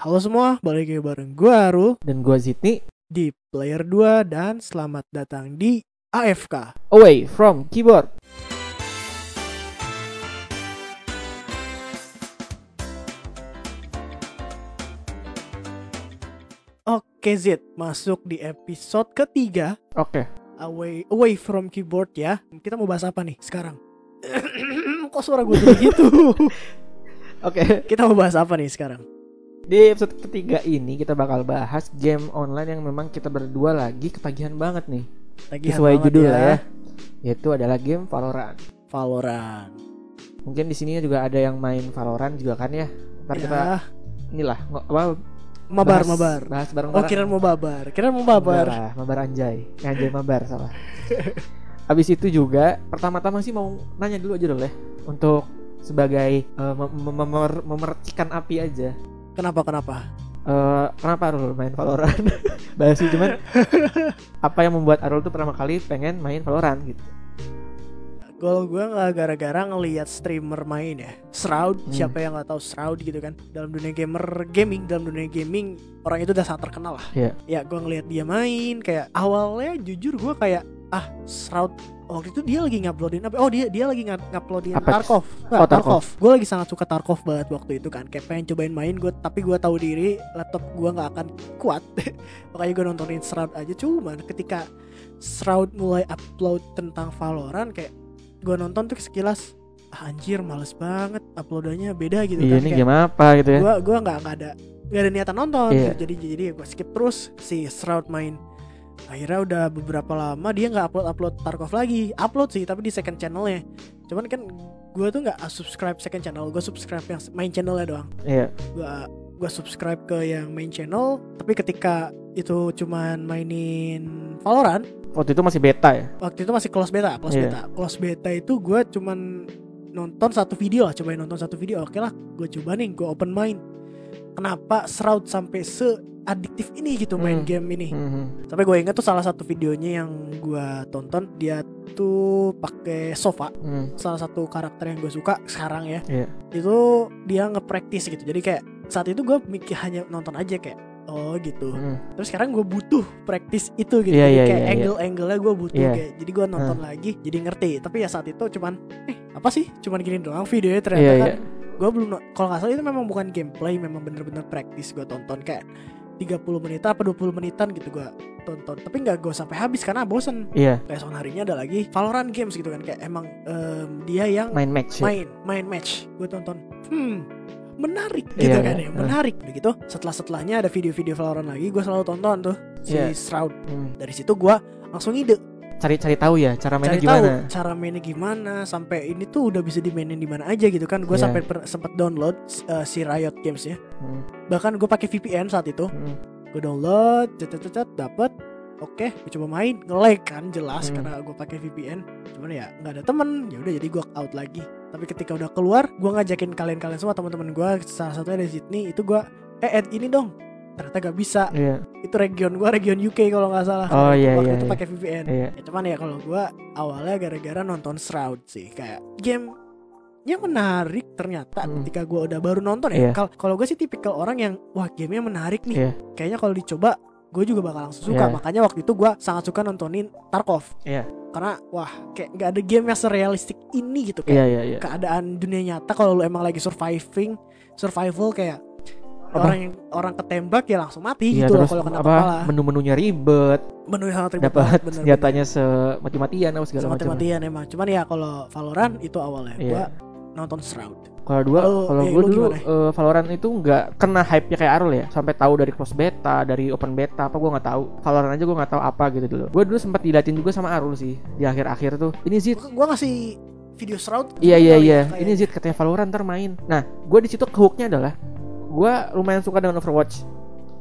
Halo semua, balik lagi bareng gue Arul dan gua Zidni di Player 2 dan selamat datang di AFK. away from keyboard. Oke Zid, masuk di episode ketiga Oke. away away from keyboard ya. Kita mau bahas apa nih sekarang? Kok suara gue jadi gitu? Oke. Kita mau bahas apa nih sekarang? Di episode ketiga ini kita bakal bahas game online yang memang kita berdua lagi ketagihan banget nih. Lagi Sesuai judul lah ya. Yaitu adalah game Valorant. Valorant. Mungkin di sini juga ada yang main Valorant juga kan ya. Ntar kita Ya, inilah ngo- apa, mabar bahas- Nah, mabar. Bahas bareng-bareng. Oh kira mau babar, kira mau babar. Mabar, mabar anjay. Eh, Anjay mabar salah. Habis itu juga pertama-tama sih mau nanya dulu aja dulu ya untuk sebagai eh, mem- mem- memer- memercikan api aja. Kenapa kenapa? Eh, kenapa Arul main Valorant? Bahas sih cuman apa yang membuat Arul tuh pertama kali pengen main Valorant gitu. Kalau gue nggak gara-gara ngelihat streamer main ya, Shroud, Hmm. siapa yang nggak tahu Shroud gitu kan? Dalam dunia gamer gaming, dalam dunia gaming orang itu udah sangat terkenal lah. Iya. Ya gue ngelihat dia main, kayak awalnya jujur gue kayak ah Shroud waktu itu dia lagi nguploadin apa? Oh dia dia lagi nge- nguploadin Apa? Tarkov. Nah, Oh, Tarkov. Gue lagi sangat suka Tarkov banget waktu itu kan. Kayak pengen cobain main gue, tapi gue tahu diri laptop gue nggak akan kuat. Makanya gue nontonin Shroud aja. Cuman ketika Shroud mulai upload tentang Valorant kayak gue nonton tuh sekilas "Ah, anjir males banget uploadannya beda gitu kan Iya ini kayak game apa gitu ya? gue gue nggak nggak ada nggak ada niatan nonton Iya. gitu. jadi jadi gue skip terus si Shroud main akhirnya udah beberapa lama dia nggak upload upload Tarkov lagi upload sih tapi di second channelnya cuman kan gue tuh nggak subscribe second channel gue subscribe yang main channelnya doang Iya. gua gua subscribe ke yang main channel tapi ketika itu cuman mainin Valorant Waktu itu masih beta ya. waktu itu masih close beta close Iya. beta close beta itu gua cuman nonton satu video lah cobain nonton satu video oke lah gue coba nih gue open mind kenapa Shroud sampai se adiktif ini gitu main Hmm. game ini Mhm. sampai gue inget tuh salah satu videonya yang gua tonton dia tuh pakai sofa Mhm. salah satu karakter yang gue suka sekarang ya Iya. itu dia nge-practice gitu jadi kayak saat itu gue mikir hanya nonton aja kayak oh gitu Mhm. terus sekarang gue butuh practice itu gitu Iya, jadi iya, kayak iya, iya. angle-angle-nya gue butuh Iya. kayak jadi gue nonton lagi jadi ngerti tapi ya saat itu cuman eh apa sih cuman gini doang videonya ternyata Iya kan iya. gue belum no- kalau nggak salah itu memang bukan gameplay memang bener-bener practice gue tonton kayak 30 menit apa 20 menitan gitu gue tonton tapi nggak gue sampai habis karena bosen Iya. besok harinya ada lagi Valorant games gitu kan kayak emang em, dia yang Main match. ya? main main match gue tonton hmm menarik Iya, gitu kan iya. ya menarik begitu setelah setelahnya ada video-video Valorant lagi gue selalu tonton tuh si Iya. Shroud Mhm. dari situ gue langsung ide Cari-cari tahu ya cara mainnya cari gimana. tahu cara mainnya gimana sampai ini tuh udah bisa dimainin di mana aja gitu kan gue Iya. sampai per- sempet download eh, si Riot Games ya Mhm. bahkan gue pakai VPN saat itu Mhm. gue download cet cet cet dapet oke gue coba main nge-lag kan jelas Hmm. karena gue pakai VPN cuman ya nggak ada temen ya udah jadi gue out lagi tapi ketika udah keluar gue ngajakin kalian-kalian semua teman-teman gue salah satunya dari Sydney itu gue eh add ini dong ternyata gak bisa Iya. itu region gue region UK kalau nggak salah Oh, iya, waktu iya, itu iya. pakai VPN Iya. ya, cuman ya kalau gue awalnya gara-gara nonton Shroud sih kayak game yang menarik ternyata Hmm. ketika gue udah baru nonton ya Iya. Kal- kalau gue sih tipikal orang yang wah gamenya menarik nih Iya. kayaknya kalau dicoba gue juga bakal langsung suka Iya. makanya waktu itu gue sangat suka nontonin Tarkov Iya. karena wah kayak nggak ada game yang serealistik ini gitu Iya kayak iya iya. keadaan dunia nyata kalau lu emang lagi surviving survival kayak Apa? orang yang orang ketembak ya langsung mati Iya, gitu loh terus kalau kena apa kepala menu-menunya ribet, menu yang sangat ribet dapat banget, bener-bener. senjatanya semati-matian apa segala macam. mati-matian emang cuman ya kalau Valorant itu awalnya Iya. gua nonton Shroud Kalau dua, Kalau, kalau eh, gue lu dulu gimana? eh, Valorant itu nggak kena hype-nya kayak Arul ya, sampai tahu dari close beta, dari open beta apa gue nggak tahu. Valorant aja gue nggak tahu apa gitu dulu. Gue dulu sempat dilatih juga sama Arul sih di akhir-akhir tuh. Ini Zid, Gua- gua ngasih video Shroud iya iya kali iya. ya, Ini Zid katanya Valorant ntar main. Nah, gue di situ hooknya adalah gue lumayan suka dengan Overwatch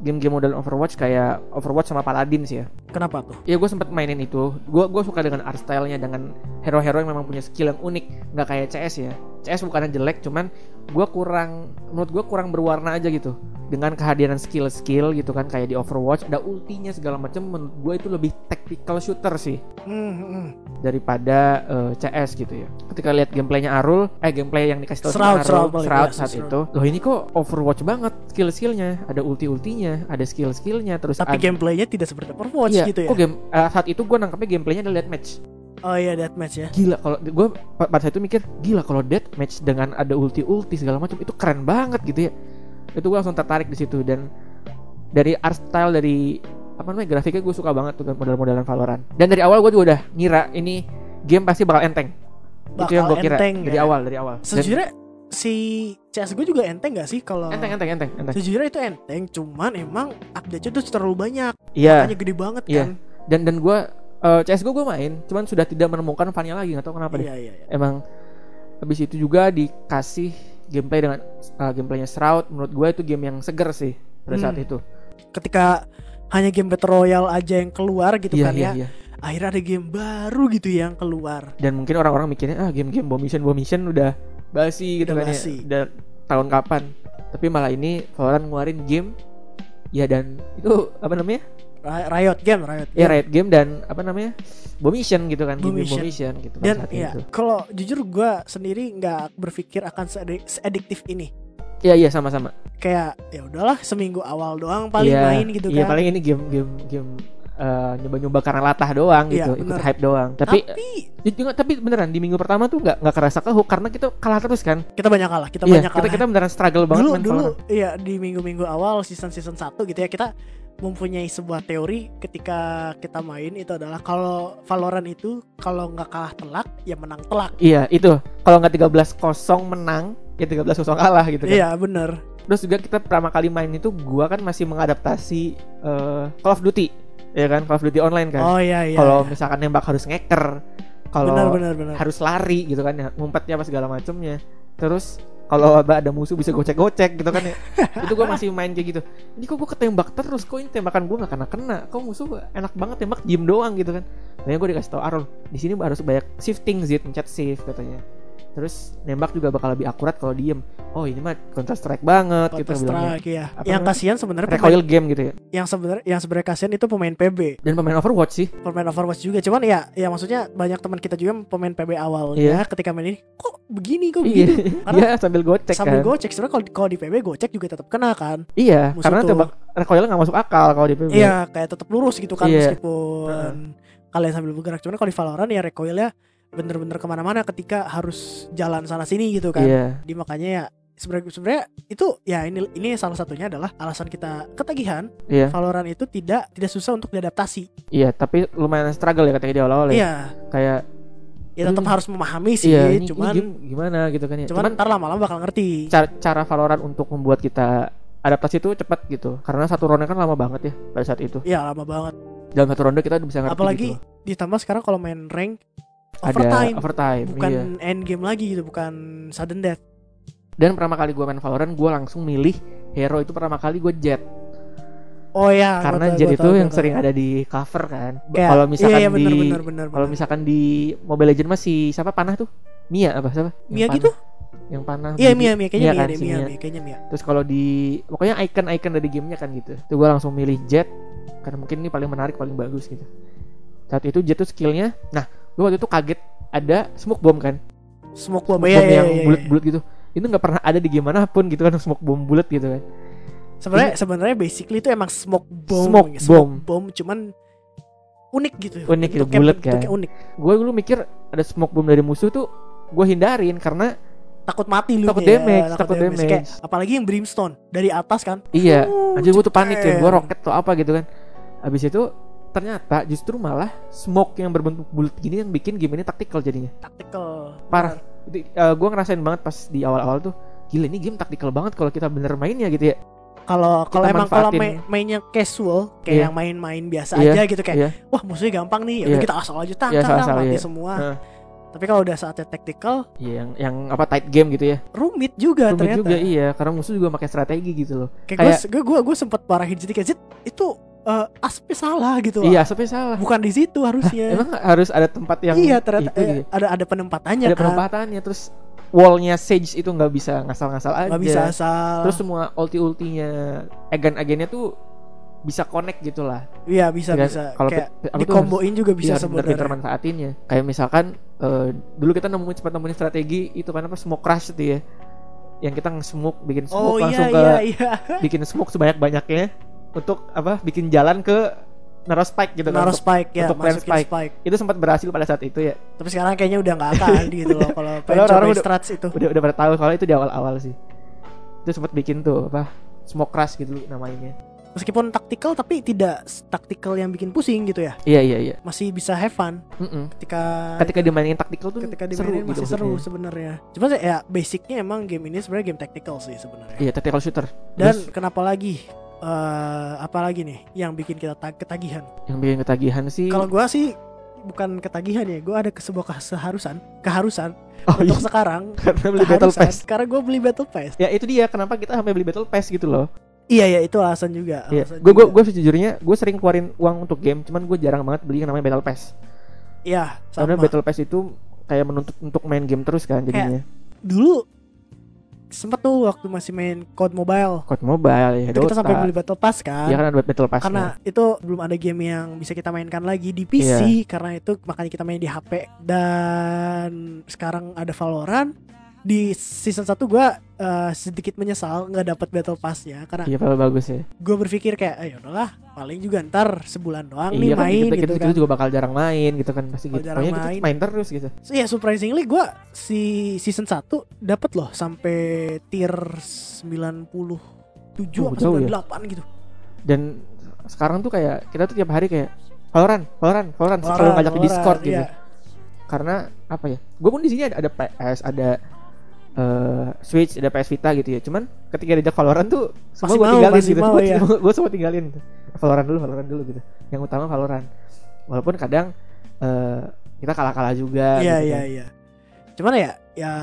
game-game model Overwatch kayak Overwatch sama Paladin sih ya. kayak- kenapa tuh Ya gue sempet mainin itu. Gue gue suka dengan art style-nya dengan hero-hero yang memang punya skill yang unik, nggak kayak CS ya. CS bukannya jelek, cuman gue kurang menurut gue kurang berwarna aja gitu dengan kehadiran skill-skill gitu kan kayak di Overwatch ada ultinya segala macam menurut gue itu lebih tactical shooter sih Hmm, hmm, hmm. daripada eh, CS gitu ya. Ketika lihat gameplaynya Arul, eh gameplay yang dikasih tahu sama Shroud, Shroud Arul, paling Shroud biasa, saat Shroud. itu, loh ini kok Overwatch banget skill-skillnya, ada ulti-ultinya, ada skill-skillnya, terus tapi ada, gameplaynya tidak seperti Overwatch Iya, gitu ya kok game eh, saat itu gue nangkapnya gameplaynya adalah dead match. oh iya deathmatch ya Gila kalau gue pada saat itu mikir gila kalau dead match dengan ada ulti-ulti segala macam itu keren banget gitu ya. Itu gue langsung tertarik di situ dan dari art style dari apa namanya grafiknya gue suka banget tuh model-modelan Valorant. Dan dari awal gue juga udah ngira ini game pasti bakal enteng itu yang bakal gue kira enteng dari ya. awal dari awal Dan- sejujurnya si CS gue juga enteng gak sih kalau enteng enteng enteng enteng sejujurnya itu enteng cuman emang update-nya tuh terlalu banyak iya hanya gede banget Iya. kan dan dan gue eh, CS gue gue main cuman sudah tidak menemukan funnya lagi nggak tahu kenapa deh iya iya iya. emang habis itu juga dikasih gameplay dengan eh, gameplaynya Shroud menurut gue itu game yang seger sih pada saat Hmm. itu ketika hanya game battle royale aja yang keluar gitu iya kan iya ya iya akhirnya ada game baru gitu yang keluar dan mungkin orang-orang mikirnya ah game-game bomission bomission udah basi gitu Udah kan basi. ya udah tahun kapan tapi malah ini Valorant ngeluarin game ya dan itu apa namanya Ra- Riot game Riot ya game. Riot Game dan apa namanya Bomission gitu kan game Bomission. Bomission gitu kan dan saat ya itu kalau jujur gua sendiri nggak berpikir akan seadi- seadiktif ini iya iya sama-sama kayak ya udahlah seminggu awal doang paling Iya, main gitu iya kan paling ini game game game eh, nyoba-nyoba karena latah doang Iya, gitu ikut bener. hype doang tapi tapi, eh, juga- tapi beneran di minggu pertama tuh nggak nggak kerasa kehook karena kita kalah terus kan kita banyak kalah kita iya banyak kita kalah ya. kita beneran struggle banget dulu main dulu Valorant. iya di minggu-minggu awal season-season 1 gitu ya kita mempunyai sebuah teori ketika kita main itu adalah kalau Valorant itu kalau nggak kalah telak ya menang telak iya itu kalau nggak 13 kosong menang ya 13 kosong kalah gitu kan iya bener terus juga kita pertama kali main itu gua kan masih mengadaptasi eh, Call of Duty ya kan Call of Duty online kan oh iya iya kalau misalkan nembak harus ngeker benar kalau benar benar harus lari gitu kan ya ngumpetnya apa segala macemnya terus kalau ada ada musuh bisa gocek-gocek gitu kan ya itu gue masih main kayak gitu ini kok gue ketembak terus kok ini tembakan gue nggak kena kena kok musuh enak banget tembak diem doang gitu kan makanya gue dikasih tau Arul di sini harus banyak shifting Zid mencet shift katanya terus nembak juga bakal lebih akurat kalau diem oh ini mah counter strike banget gitu Counter bilangnya Strike ya. Apa Yang namanya? kasihan sebenarnya pemain, recoil game gitu ya yang sebenarnya yang sebenarnya kasihan itu pemain PB, dan pemain Overwatch sih pemain Overwatch juga. Cuman ya ya maksudnya banyak teman kita juga pemain PB awalnya ketika main ini kok begini kok begini. iya Oh, gitu? Karena dia sambil gocek Sambil kan gocek sebenarnya kalau kalau di PB gocek juga tetap kena kan. iya musuh karena tuh. tembak recoil nggak masuk akal kalau di PB Iya, kayak tetap lurus gitu kan Iya. meskipun Heeh. kalian sambil bergerak. Cuman kalau di Valorant ya recoilnya bener-bener kemana-mana ketika harus jalan sana sini gitu kan. Iya. Jadi makanya ya sebenarnya sebenarnya itu ya ini ini salah satunya adalah alasan kita ketagihan Iya. Valorant itu tidak tidak susah untuk diadaptasi. Iya, tapi lumayan struggle ya katanya di awal-awal ya. Iya, Kayak ya tetap Aduh. harus memahami sih, iya, ini, cuman ini game gimana gitu kan ya. cuman, Cuman, ntar lama-lama bakal ngerti. cara, cara Valorant untuk membuat kita adaptasi itu cepat gitu. Karena satu ronde kan lama banget ya pada saat itu. Iya, lama banget. Dalam satu ronde kita bisa ngerti Apalagi gitu. ditambah sekarang kalau main rank Ada overtime, overtime. bukan Iya. end game lagi gitu, bukan sudden death. Dan pertama kali gue main Valorant, gue langsung milih hero itu pertama kali gue Jet. Oh ya, Karena Jet itu yang sering ada di cover kan. Kalau misalkan iya, iya, bener, di bener, bener, kalau bener. misalkan di Mobile Legends masih siapa panah tuh? Mia apa siapa? Yang Mia panah. gitu? Yang panah. Iya, biru. Mia, Mia kayaknya Mia Mia, kan, deh, si Mia, Mia. Mia, kayaknya Mia. Terus kalau di pokoknya icon-icon dari gamenya kan gitu. Itu gue langsung milih Jet karena mungkin ini paling menarik, paling bagus gitu. Saat itu Jet tuh skillnya. Nah, gue waktu itu kaget ada smoke bomb kan, Smoke bomb, Smoke iya, bomb iya, yang iya, iya. bulat-bulat gitu. Itu nggak pernah ada di game manapun gitu kan smoke bomb bulat gitu kan. Sebenarnya sebenarnya basically itu emang smoke bomb, Smoke ya, bomb. bomb, cuman unik gitu. Unik gitu, Bentuknya- bulat kan. bentuknya unik. Gue dulu mikir ada smoke bomb dari musuh tuh gue hindarin karena Takut mati lu. Takut nih ya, damage, takut damage. Kayak, apalagi yang brimstone dari atas kan. iya Uh, anjir gue tuh panik ya cepet. gue roket atau apa gitu kan habis itu ternyata justru malah smoke yang berbentuk bulat gini yang bikin game ini taktikal jadinya Tactical. parah gue eh, ngerasain banget pas di awal-awal tuh gila ini game taktikal banget kalau kita bener mainnya gitu ya Kalau kalau Kita emang kalau manfaatin. main- mainnya casual kayak Iya. yang main-main biasa Iya, aja gitu kayak iya. wah musuhnya gampang nih, ya udah Iya. kita asal aja tak Iya, tak, tak, asal-asal, mati iya. semua. Heeh. Tapi kalau udah saatnya tactical Iya, yang yang apa tight game gitu ya rumit juga rumit ternyata. juga iya karena musuh juga pakai strategi gitu loh Kayak, Kayak- gue gue gue sempat parahin jadi kayak "Zit, itu eh, aspnya salah gitu. iya Iya. sampai salah Bukan di situ harusnya. emang harus ada tempat yang iya ternyata itu eh, gitu ya? ada ada penempatannya ada kan. penempatannya terus wallnya Sage itu nggak bisa ngasal-ngasal aja. nggak bisa asal Terus semua ulti-ultinya agen-agennya tuh bisa connect gitu lah. iya bisa Nggak- bisa Kalau kayak pit- aku tuh iya, harus- dikomboin juga bisa bisa pinter sebenarnya manfaatinnya ya. kayak misalkan eh, dulu kita nemuin cepat nemuin strategi itu kan apa smoke crash itu ya yang kita nge-smoke bikin oh smoke iya langsung ke iya iya bikin smoke sebanyak banyaknya untuk apa bikin jalan ke naro spike gitu kan naruh Untuk- spike ya untuk plan masukin spike. spike. itu sempat berhasil pada saat itu ya tapi sekarang kayaknya udah nggak akan gitu loh kalau pengen Padahal orang cobain udah- strats itu udah udah pada tahu kalau itu di awal awal sih itu sempat bikin tuh apa smoke crash gitu namanya meskipun taktikal tapi tidak taktikal yang bikin pusing gitu ya iya iya iya masih bisa have fun Mm-mm. ketika ketika dimainin taktikal tuh Ah, ketika seru dimainin gitu masih seru maksudnya. sebenarnya. Cuma sih, ya basicnya emang game ini sebenarnya game tactical sih sebenarnya. iya tactical shooter Dan Terus- kenapa lagi? Eh, apa lagi nih yang bikin kita ta- ketagihan? yang bikin ketagihan sih Kalau gua sih bukan ketagihan ya, gua ada ke- sebuah keharusan, keharusan oh, iya. untuk sekarang karena beli battle keharusan, pass Karena gua beli Battle Pass. ya itu dia kenapa kita sampai beli battle pass gitu loh Iya ya, itu alasan juga. Iya. alasan gue gue juga. gue sejujurnya gue sering keluarin uang untuk game cuman gue jarang banget beli yang namanya battle pass Iya, karena sama. battle pass itu kayak menuntut untuk main game terus kan jadinya Dulu sempet tuh waktu masih main COD Mobile, Code mobile ya itu Dota kita sampai beli Battle Pass kan. ya kan ada battle pass karena itu belum ada game yang bisa kita mainkan lagi di Iya. PC karena itu makanya kita main di HP dan sekarang ada Valorant di season 1 gua eh, sedikit menyesal nggak dapat battle pass-nya karena iya padahal bagus ya gua berpikir kayak ayo udahlah paling juga ntar sebulan doang nih iya kan, main kita, gitu kita, kan kita juga bakal jarang main gitu kan pasti Bakal gitu jarang pokoknya kita main. main terus gitu So, ya surprisingly gua si season 1 dapat loh sampai tier 97 Oh, apa jauh ya. 98 gitu dan sekarang tuh kayak kita tuh tiap hari kayak Valorant, Valorant, Valorant, selalu Valorant, ngajak di Valorant, Discord gitu. iya. karena apa ya gue pun di sini ada, ada PS ada eh, Switch ada PS Vita gitu ya cuman ketika diajak Valorant tuh semua Masih gue mau, tinggalin masih gitu mau, ya. gue semua tinggalin gitu. Valorant dulu Valorant dulu gitu yang utama Valorant walaupun kadang eh, kita kalah-kalah juga Iya gitu iya kan. iya. Cuman ya ya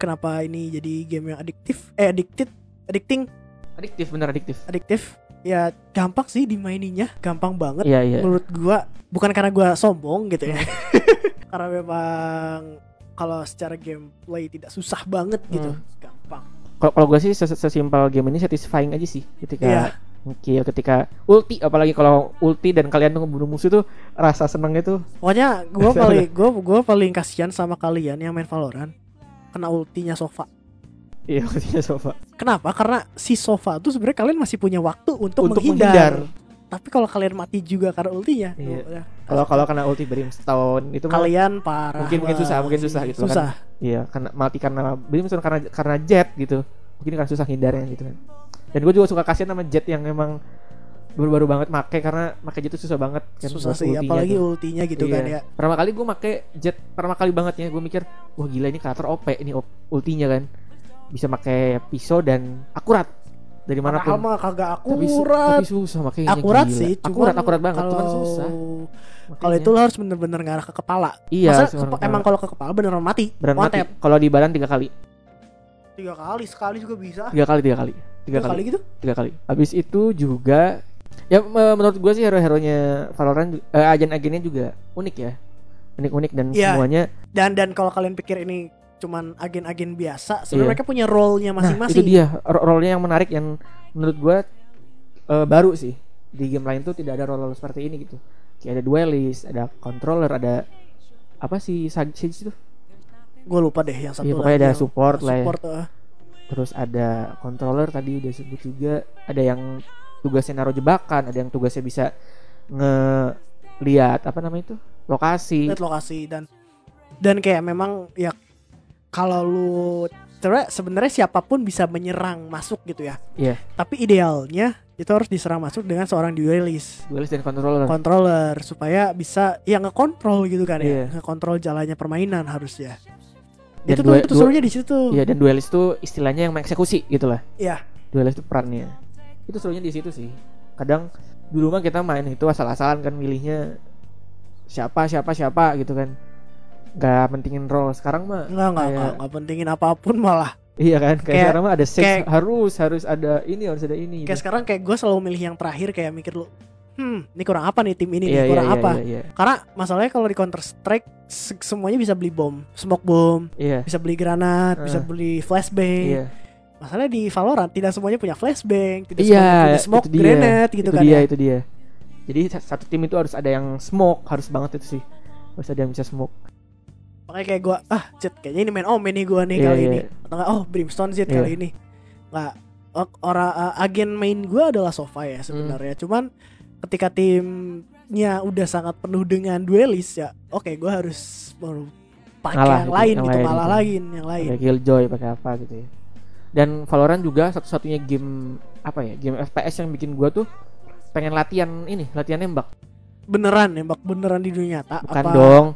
kenapa ini jadi game yang adiktif? Eh addicted, addicting, adiktif bener adiktif adiktif. Ya gampang sih dimaininnya, gampang banget. iya iya Menurut gua bukan karena gua sombong gitu ya. karena memang kalau secara gameplay tidak susah banget gitu, Hmm. gampang. kalau kalau gue sih ses- sesimpel game ini satisfying aja sih ketika Iya. Oke, ketika ulti apalagi kalau ulti dan kalian tuh ngebunuh musuh tuh rasa senengnya tuh Pokoknya gua paling gua gua paling kasihan sama kalian yang main Valorant kena ultinya sofa. iya ultinya sofa Kenapa? Karena si sofa tuh sebenarnya kalian masih punya waktu untuk, Untuk menghindar. menghindar. Tapi kalau kalian mati juga karena ultinya, Iya. udah. kalau kalau kena ulti brimstone itu mah- kalian parah. mungkin mungkin banget susah mungkin sih. susah gitu Susah. kan iya karena mati karena belum misalnya karena karena jet gitu mungkin karena susah hindarnya gitu kan dan gue juga suka kasihan sama jet yang emang baru-baru banget make karena make jet itu susah banget kan susah buat sih, ultinya apalagi tuh. ultinya gitu Iya. kan ya. pertama kali gue make jet pertama kali banget ya gue mikir wah gila ini karakter OP ini op- ultinya kan bisa make pisau dan akurat dari Padahal manapun mah kagak tapi, su- akurat. tapi susah makanya akurat gila. sih, akurat akurat banget kalau, cuman susah Kalau makanya. itu lo harus bener-bener ngarah ke kepala. iya Masa cuman kepa- kalau- emang kalau ke kepala beneran mati? beneran One mati. tap. kalau di badan tiga kali Tiga kali, sekali juga bisa. tiga kali tiga kali tiga Tiga kali kali gitu? tiga kali. Habis itu juga ya me- menurut gua sih hero-heronya Valorant ju- eh, agen-agennya juga unik ya. Unik-unik dan Iya. semuanya. Dan dan kalau kalian pikir ini cuman agen-agen biasa, sebenarnya Iya. mereka punya role-nya Nah, itu masing-masing. dia ro- role-nya yang menarik yang menurut gua eh, baru sih. Di game lain tuh tidak ada role-role seperti ini gitu. Kayak ada duelist, ada controller, ada apa sih Sag- Sage itu? Gue lupa deh yang satu Iya, pokoknya lagi ada yang support lah ya. support, eh. Terus ada controller tadi udah sebut juga, ada yang tugasnya naruh jebakan, ada yang tugasnya bisa nge lihat apa namanya itu? lokasi. lihat lokasi dan dan kayak memang ya kalau lu sebenarnya sebenarnya siapapun bisa menyerang masuk gitu ya. Iya. Tapi idealnya itu harus diserang masuk dengan seorang duelist Duelist dan controller. controller supaya bisa ya ngekontrol gitu kan Iya. ya ngekontrol jalannya permainan harusnya Dan itu tuh dua- itu dua- serunya di situ Iya dan duelis tuh istilahnya yang mengeksekusi gitu lah. Iya. Duelis tuh perannya. Itu serunya di situ sih. Kadang dulu mah kita main itu asal-asalan kan milihnya siapa siapa siapa gitu kan. Gak pentingin role sekarang mah. nggak nggak kayak- nggak nggak pentingin apapun malah Iya kan. Kayak, Hmm. Kayak- sekarang mah ada six kayak- harus harus ada ini harus ada ini. kayak gitu. sekarang kayak gue selalu milih yang terakhir kayak mikir lu hmm ini kurang apa nih tim ini nih Iya, iya, kurang iya, apa Iya, karena masalahnya kalau di Counter Strike se- semuanya bisa beli bom smoke bomb iya. bisa beli granat bisa Ah. beli flashbang Iya, masalahnya di Valorant tidak semuanya punya flashbang tidak Iya, semuanya punya smoke itu dia. granat gitu itu kan dia, ya itu dia. Jadi sa- satu tim itu harus ada yang smoke, harus banget itu sih. Harus ada yang bisa smoke. makanya kayak gua ah Zed kayaknya ini main omen nih gua nih Iya, kali iya. ini atau enggak oh brimstone Zed Iya. kali ini nggak o- orang eh, agen main gua adalah sofa Hmm. ya sebenarnya cuman ketika timnya udah sangat penuh dengan duelis ya oke gua harus mau pakai Ngalah yang gitu, lain yang gitu lain malah gitu. lagi yang lain Pakai Killjoy, pakai apa gitu ya. Dan Valorant juga satu-satunya game apa ya? Game FPS yang bikin gua tuh pengen latihan ini, latihan nembak. beneran nembak beneran di dunia nyata Bukan apa dong.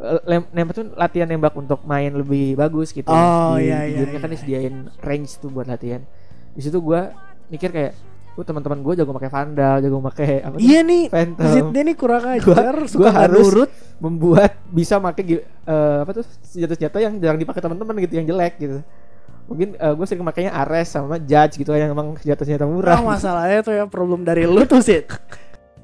Eh, lem- Nembak tuh latihan nembak untuk main lebih bagus gitu. Oh, di, iya, di iya, gamenya kan iya. disediain range tuh buat latihan. Di situ gua mikir kayak, "Gua teman-teman gua jago pakai Vandal, jago pakai apa tuh? iya nih Phantom." Zed dia nih kurang ajar suka gua nggak harus- nurut membuat bisa make gil- eh, apa tuh senjata-senjata yang jarang dipakai teman-teman gitu yang jelek gitu mungkin gue sering makainya Ares sama Judge gitu yang emang senjata-senjata murah Nah, masalahnya tuh yang problem dari lu tuh sih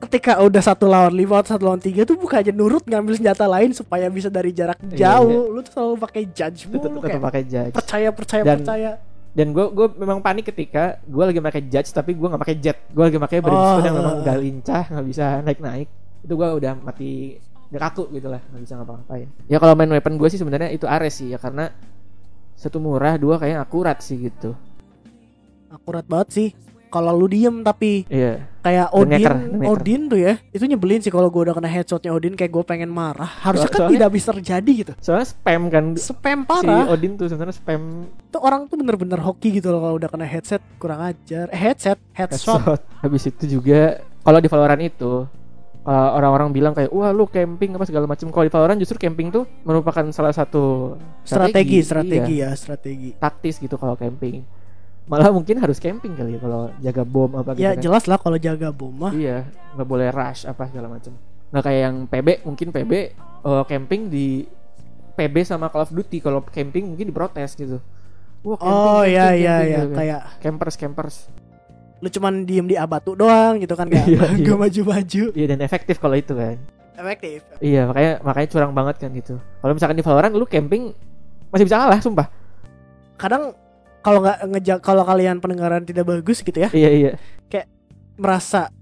ketika udah satu lawan lima atau satu lawan tiga tuh bukan aja nurut ngambil senjata lain supaya bisa dari jarak Iya, jauh iya. lu tuh selalu pakai judge tetap mulu tetap kayak gitu. pakai Judge percaya percaya Dan- percaya dan gue gue memang panik ketika gue lagi pakai Judge tapi gue nggak pakai Jet gue lagi pakai Oh. Brimstone yang memang udah lincah nggak bisa naik-naik itu gue udah mati kaku gitu lah nggak bisa ngapa-ngapain ya kalau main weapon gue sih sebenarnya itu Ares sih ya karena satu murah dua kayaknya akurat sih gitu akurat banget sih kalau lu diem tapi iya kayak The Odin Knacker, The Knacker. Odin tuh ya itu nyebelin sih kalau gue udah kena headshotnya Odin kayak gue pengen marah harusnya kan Soalnya- tidak bisa terjadi gitu soalnya spam kan spam si parah Odin tuh sebenarnya spam tuh orang tuh bener-bener hoki gitu loh kalau udah kena headset kurang ajar eh, headset headshot headshot. Habis itu juga kalau di Valorant itu uh, orang-orang bilang kayak wah lu camping apa segala macam. Kalau di Valorant justru camping tuh merupakan salah satu strategi strategi ya Iya, strategi taktis gitu kalau camping. Malah mungkin harus camping kali ya kalau jaga bom apa ya gitu kan. jelas lah kalau jaga bom mah Iya, nggak boleh rush apa segala macam. Nggak kayak yang PB, mungkin PB uh, camping di PB sama Call of Duty. Kalau camping mungkin diprotes gitu. Wah, Oh ya ya ya gitu kan. kayak campers campers. lu cuman diem di abatu doang gitu kan kayak Iya, gak iya. maju-maju Iya dan efektif kalau itu kan. efektif Iya makanya makanya curang banget kan gitu. Kalau misalkan di Valorant lu camping masih bisa kalah sumpah. kadang kalau nggak ngejak kalau kalian pendengaran tidak bagus gitu ya Iya iya merasa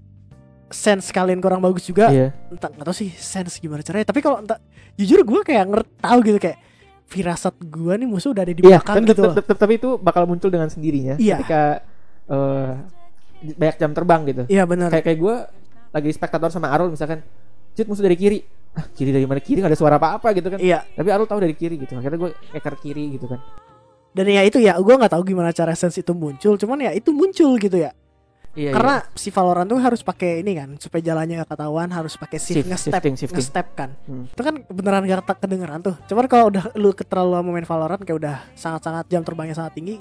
sense kalian kurang bagus juga iya. entah nggak tahu sih sense gimana caranya tapi kalau entah jujur gue kayak ngerti tahu gitu kayak firasat gue nih musuh udah ada di Iya belakang kan gitu loh tapi itu bakal muncul dengan sendirinya Iya. ketika eh, banyak jam terbang gitu. iya benar Kayak kayak gue lagi spektator sama Arul misalkan, cut musuh dari kiri. Ah, kiri dari mana kiri gak ada suara apa-apa gitu kan. iya Tapi Arul tahu dari kiri gitu. Akhirnya gue eker kiri gitu kan. dan ya itu ya gue nggak tahu gimana cara sense itu muncul cuman ya itu muncul gitu ya Iya. karena si Valorant tuh harus pakai ini kan supaya jalannya gak ketahuan harus pakai shift, Shift, ngestep iya. shifting, shifting. ngestep kan Hmm. itu kan beneran gak tak kedengeran tuh cuman kalau udah lu keterlaluan main Valorant kayak udah sangat sangat jam terbangnya sangat tinggi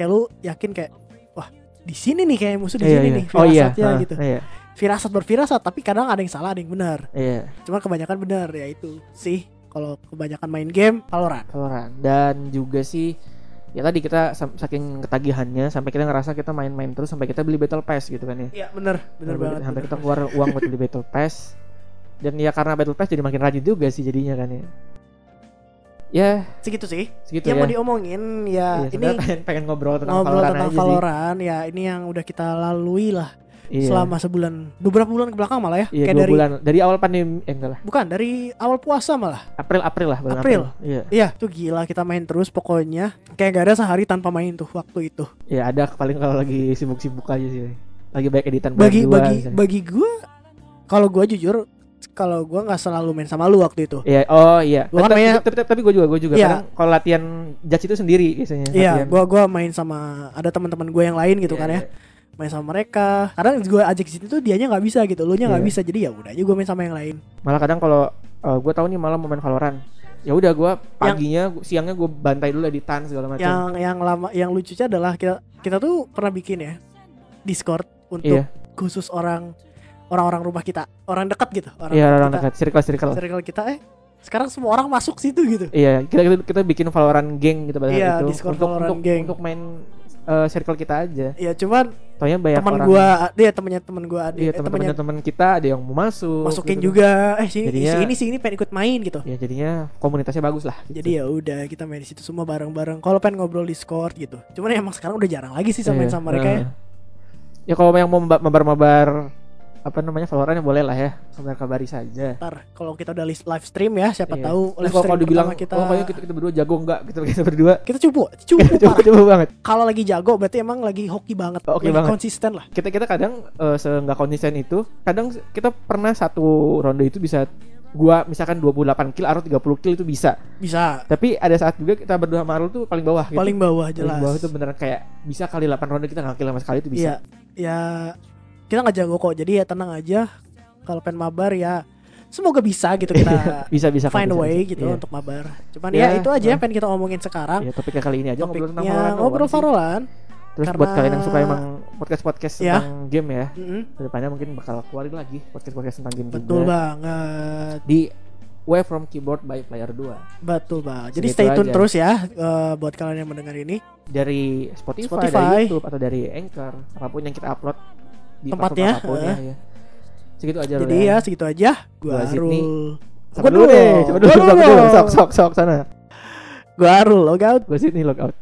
kayak lu yakin kayak wah di sini nih kayak musuh di iya, sini iya. nih Oh iya. firasatnya ah, gitu Iya. firasat berfirasat tapi kadang ada yang salah ada yang benar Iya. cuman kebanyakan benar ya itu sih kalau kebanyakan main game Valorant Valorant dan juga sih ya tadi kita sam- saking ketagihannya sampai kita ngerasa kita main-main terus sampai kita beli battle pass gitu kan ya iya bener bener sampai, banget sampai bener. kita keluar uang buat beli battle pass dan ya karena battle pass jadi makin rajin juga sih jadinya kan ya ya segitu sih segitu yang ya, mau diomongin ya, Iya, ini sebenarnya pengen, pengen ngobrol tentang ngobrol Valorant tentang aja Valorant ya ini yang udah kita lalui lah sih Iya. selama sebulan beberapa bulan ke belakang malah ya iya, kayak dua dari bulan dari awal pandemi eh, enggak lah bukan dari awal puasa malah April April lah bulan April. iya iya tuh gila kita main terus pokoknya kayak gak ada sehari tanpa main tuh waktu itu ya ada paling kalau lagi sibuk-sibuk aja sih lagi banyak editan bulan bagi dua bagi misalnya. bagi gue kalau gue jujur kalau gue nggak selalu main sama lu waktu itu Iya, oh iya. Gua kan tapi, mainnya- tapi, tapi, tapi gue juga, gue juga. Iya. Kadang kalau latihan judge itu sendiri biasanya. Iya, latihan. gua gua main sama ada teman-teman gue yang lain gitu Iya, kan ya, main sama mereka. Kadang gue ajak ke situ tuh dianya nggak bisa gitu, lu nya nggak Iya. bisa. Jadi ya udah aja gue main sama yang lain. iya. Malah kadang kalau gue tahu nih malam mau main Valorant. Ya udah gue paginya, gua- siangnya gue bantai dulu editan segala macam. Yang yang lama yang lucunya adalah kita kita tuh pernah bikin ya Discord untuk Iya, khusus orang orang-orang rumah kita, orang dekat gitu, orang iya dekat orang kita, dekat, circle circle. circle kita eh sekarang semua orang masuk situ gitu. Iya, kita, kita kita bikin Valorant geng gitu pada saat Iya, itu. Discord untuk Valorant untuk geng. untuk main eh, eh, circle kita aja ya cuman Taunya banyak teman Iya, orang gua dia temennya teman gua adik Iya eh, temennya teman-teman teman kita ada yang mau masuk masukin gitu. juga eh sini Jadinya- si ini si ini pengen ikut main gitu Ya jadinya komunitasnya bagus lah gitu. jadi ya udah kita main di situ semua bareng-bareng kalau pengen ngobrol Discord gitu cuman emang sekarang udah jarang lagi sih sama main Iya, sama mereka ya nah. Ya kalau yang mau mba- mabar-mabar apa namanya followernya boleh lah ya kabar-kabari saja. ntar kalau kita udah list- live stream ya siapa Iya. tahu live Terus kalau stream kalau dibilang pertama kita oh kayaknya kita, kita berdua jago enggak gitu kita berdua kita cupu cupu coba parah. coba banget. kalau lagi jago berarti emang lagi hoki banget Hoki lagi banget. konsisten lah Kita kita kadang eh, se seenggak konsisten itu, kadang kita pernah satu ronde itu bisa gua misalkan 28 kill atau 30 kill itu bisa. bisa Tapi ada saat juga kita berdua sama Arul tuh paling bawah gitu. paling bawah Paling jelas bawah itu beneran kayak bisa kali 8 ronde kita nggak kill sama sekali itu bisa. Iya, ya kita nggak jago kok. Jadi ya tenang aja. Kalau pengen mabar ya semoga bisa gitu kita Bisa bisa kok, find a bisa, way bisa. gitu Iya. untuk mabar. Cuman Ya, ya itu aja nah. yang pengen kita omongin sekarang. Ya, topiknya kali ini aja Topiknya ngobrol ngobrol doang sih. farolan. Terus karena- buat kalian yang suka emang podcast-podcast Ya. tentang game ya, Mm-mm, kedepannya mungkin bakal keluarin lagi podcast-podcast tentang game betul juga banget, di Way from Keyboard by Player 2 betul banget. Jadi Segitu stay tune aja. terus ya eh, buat kalian yang mendengar ini. dari Spotify, Spotify. dari YouTube atau dari Anchor, apapun yang kita upload di Tempatnya, platform apapun ya, ya. Segitu aja Jadi Rul, ya segitu aja. Gua Iya, Gua Zidni. Arul. Sabar dulu deh, coba dulu, Gua coba dulu, dong. sok sok sok sana. Gua Arul, logout. Gue sini log out.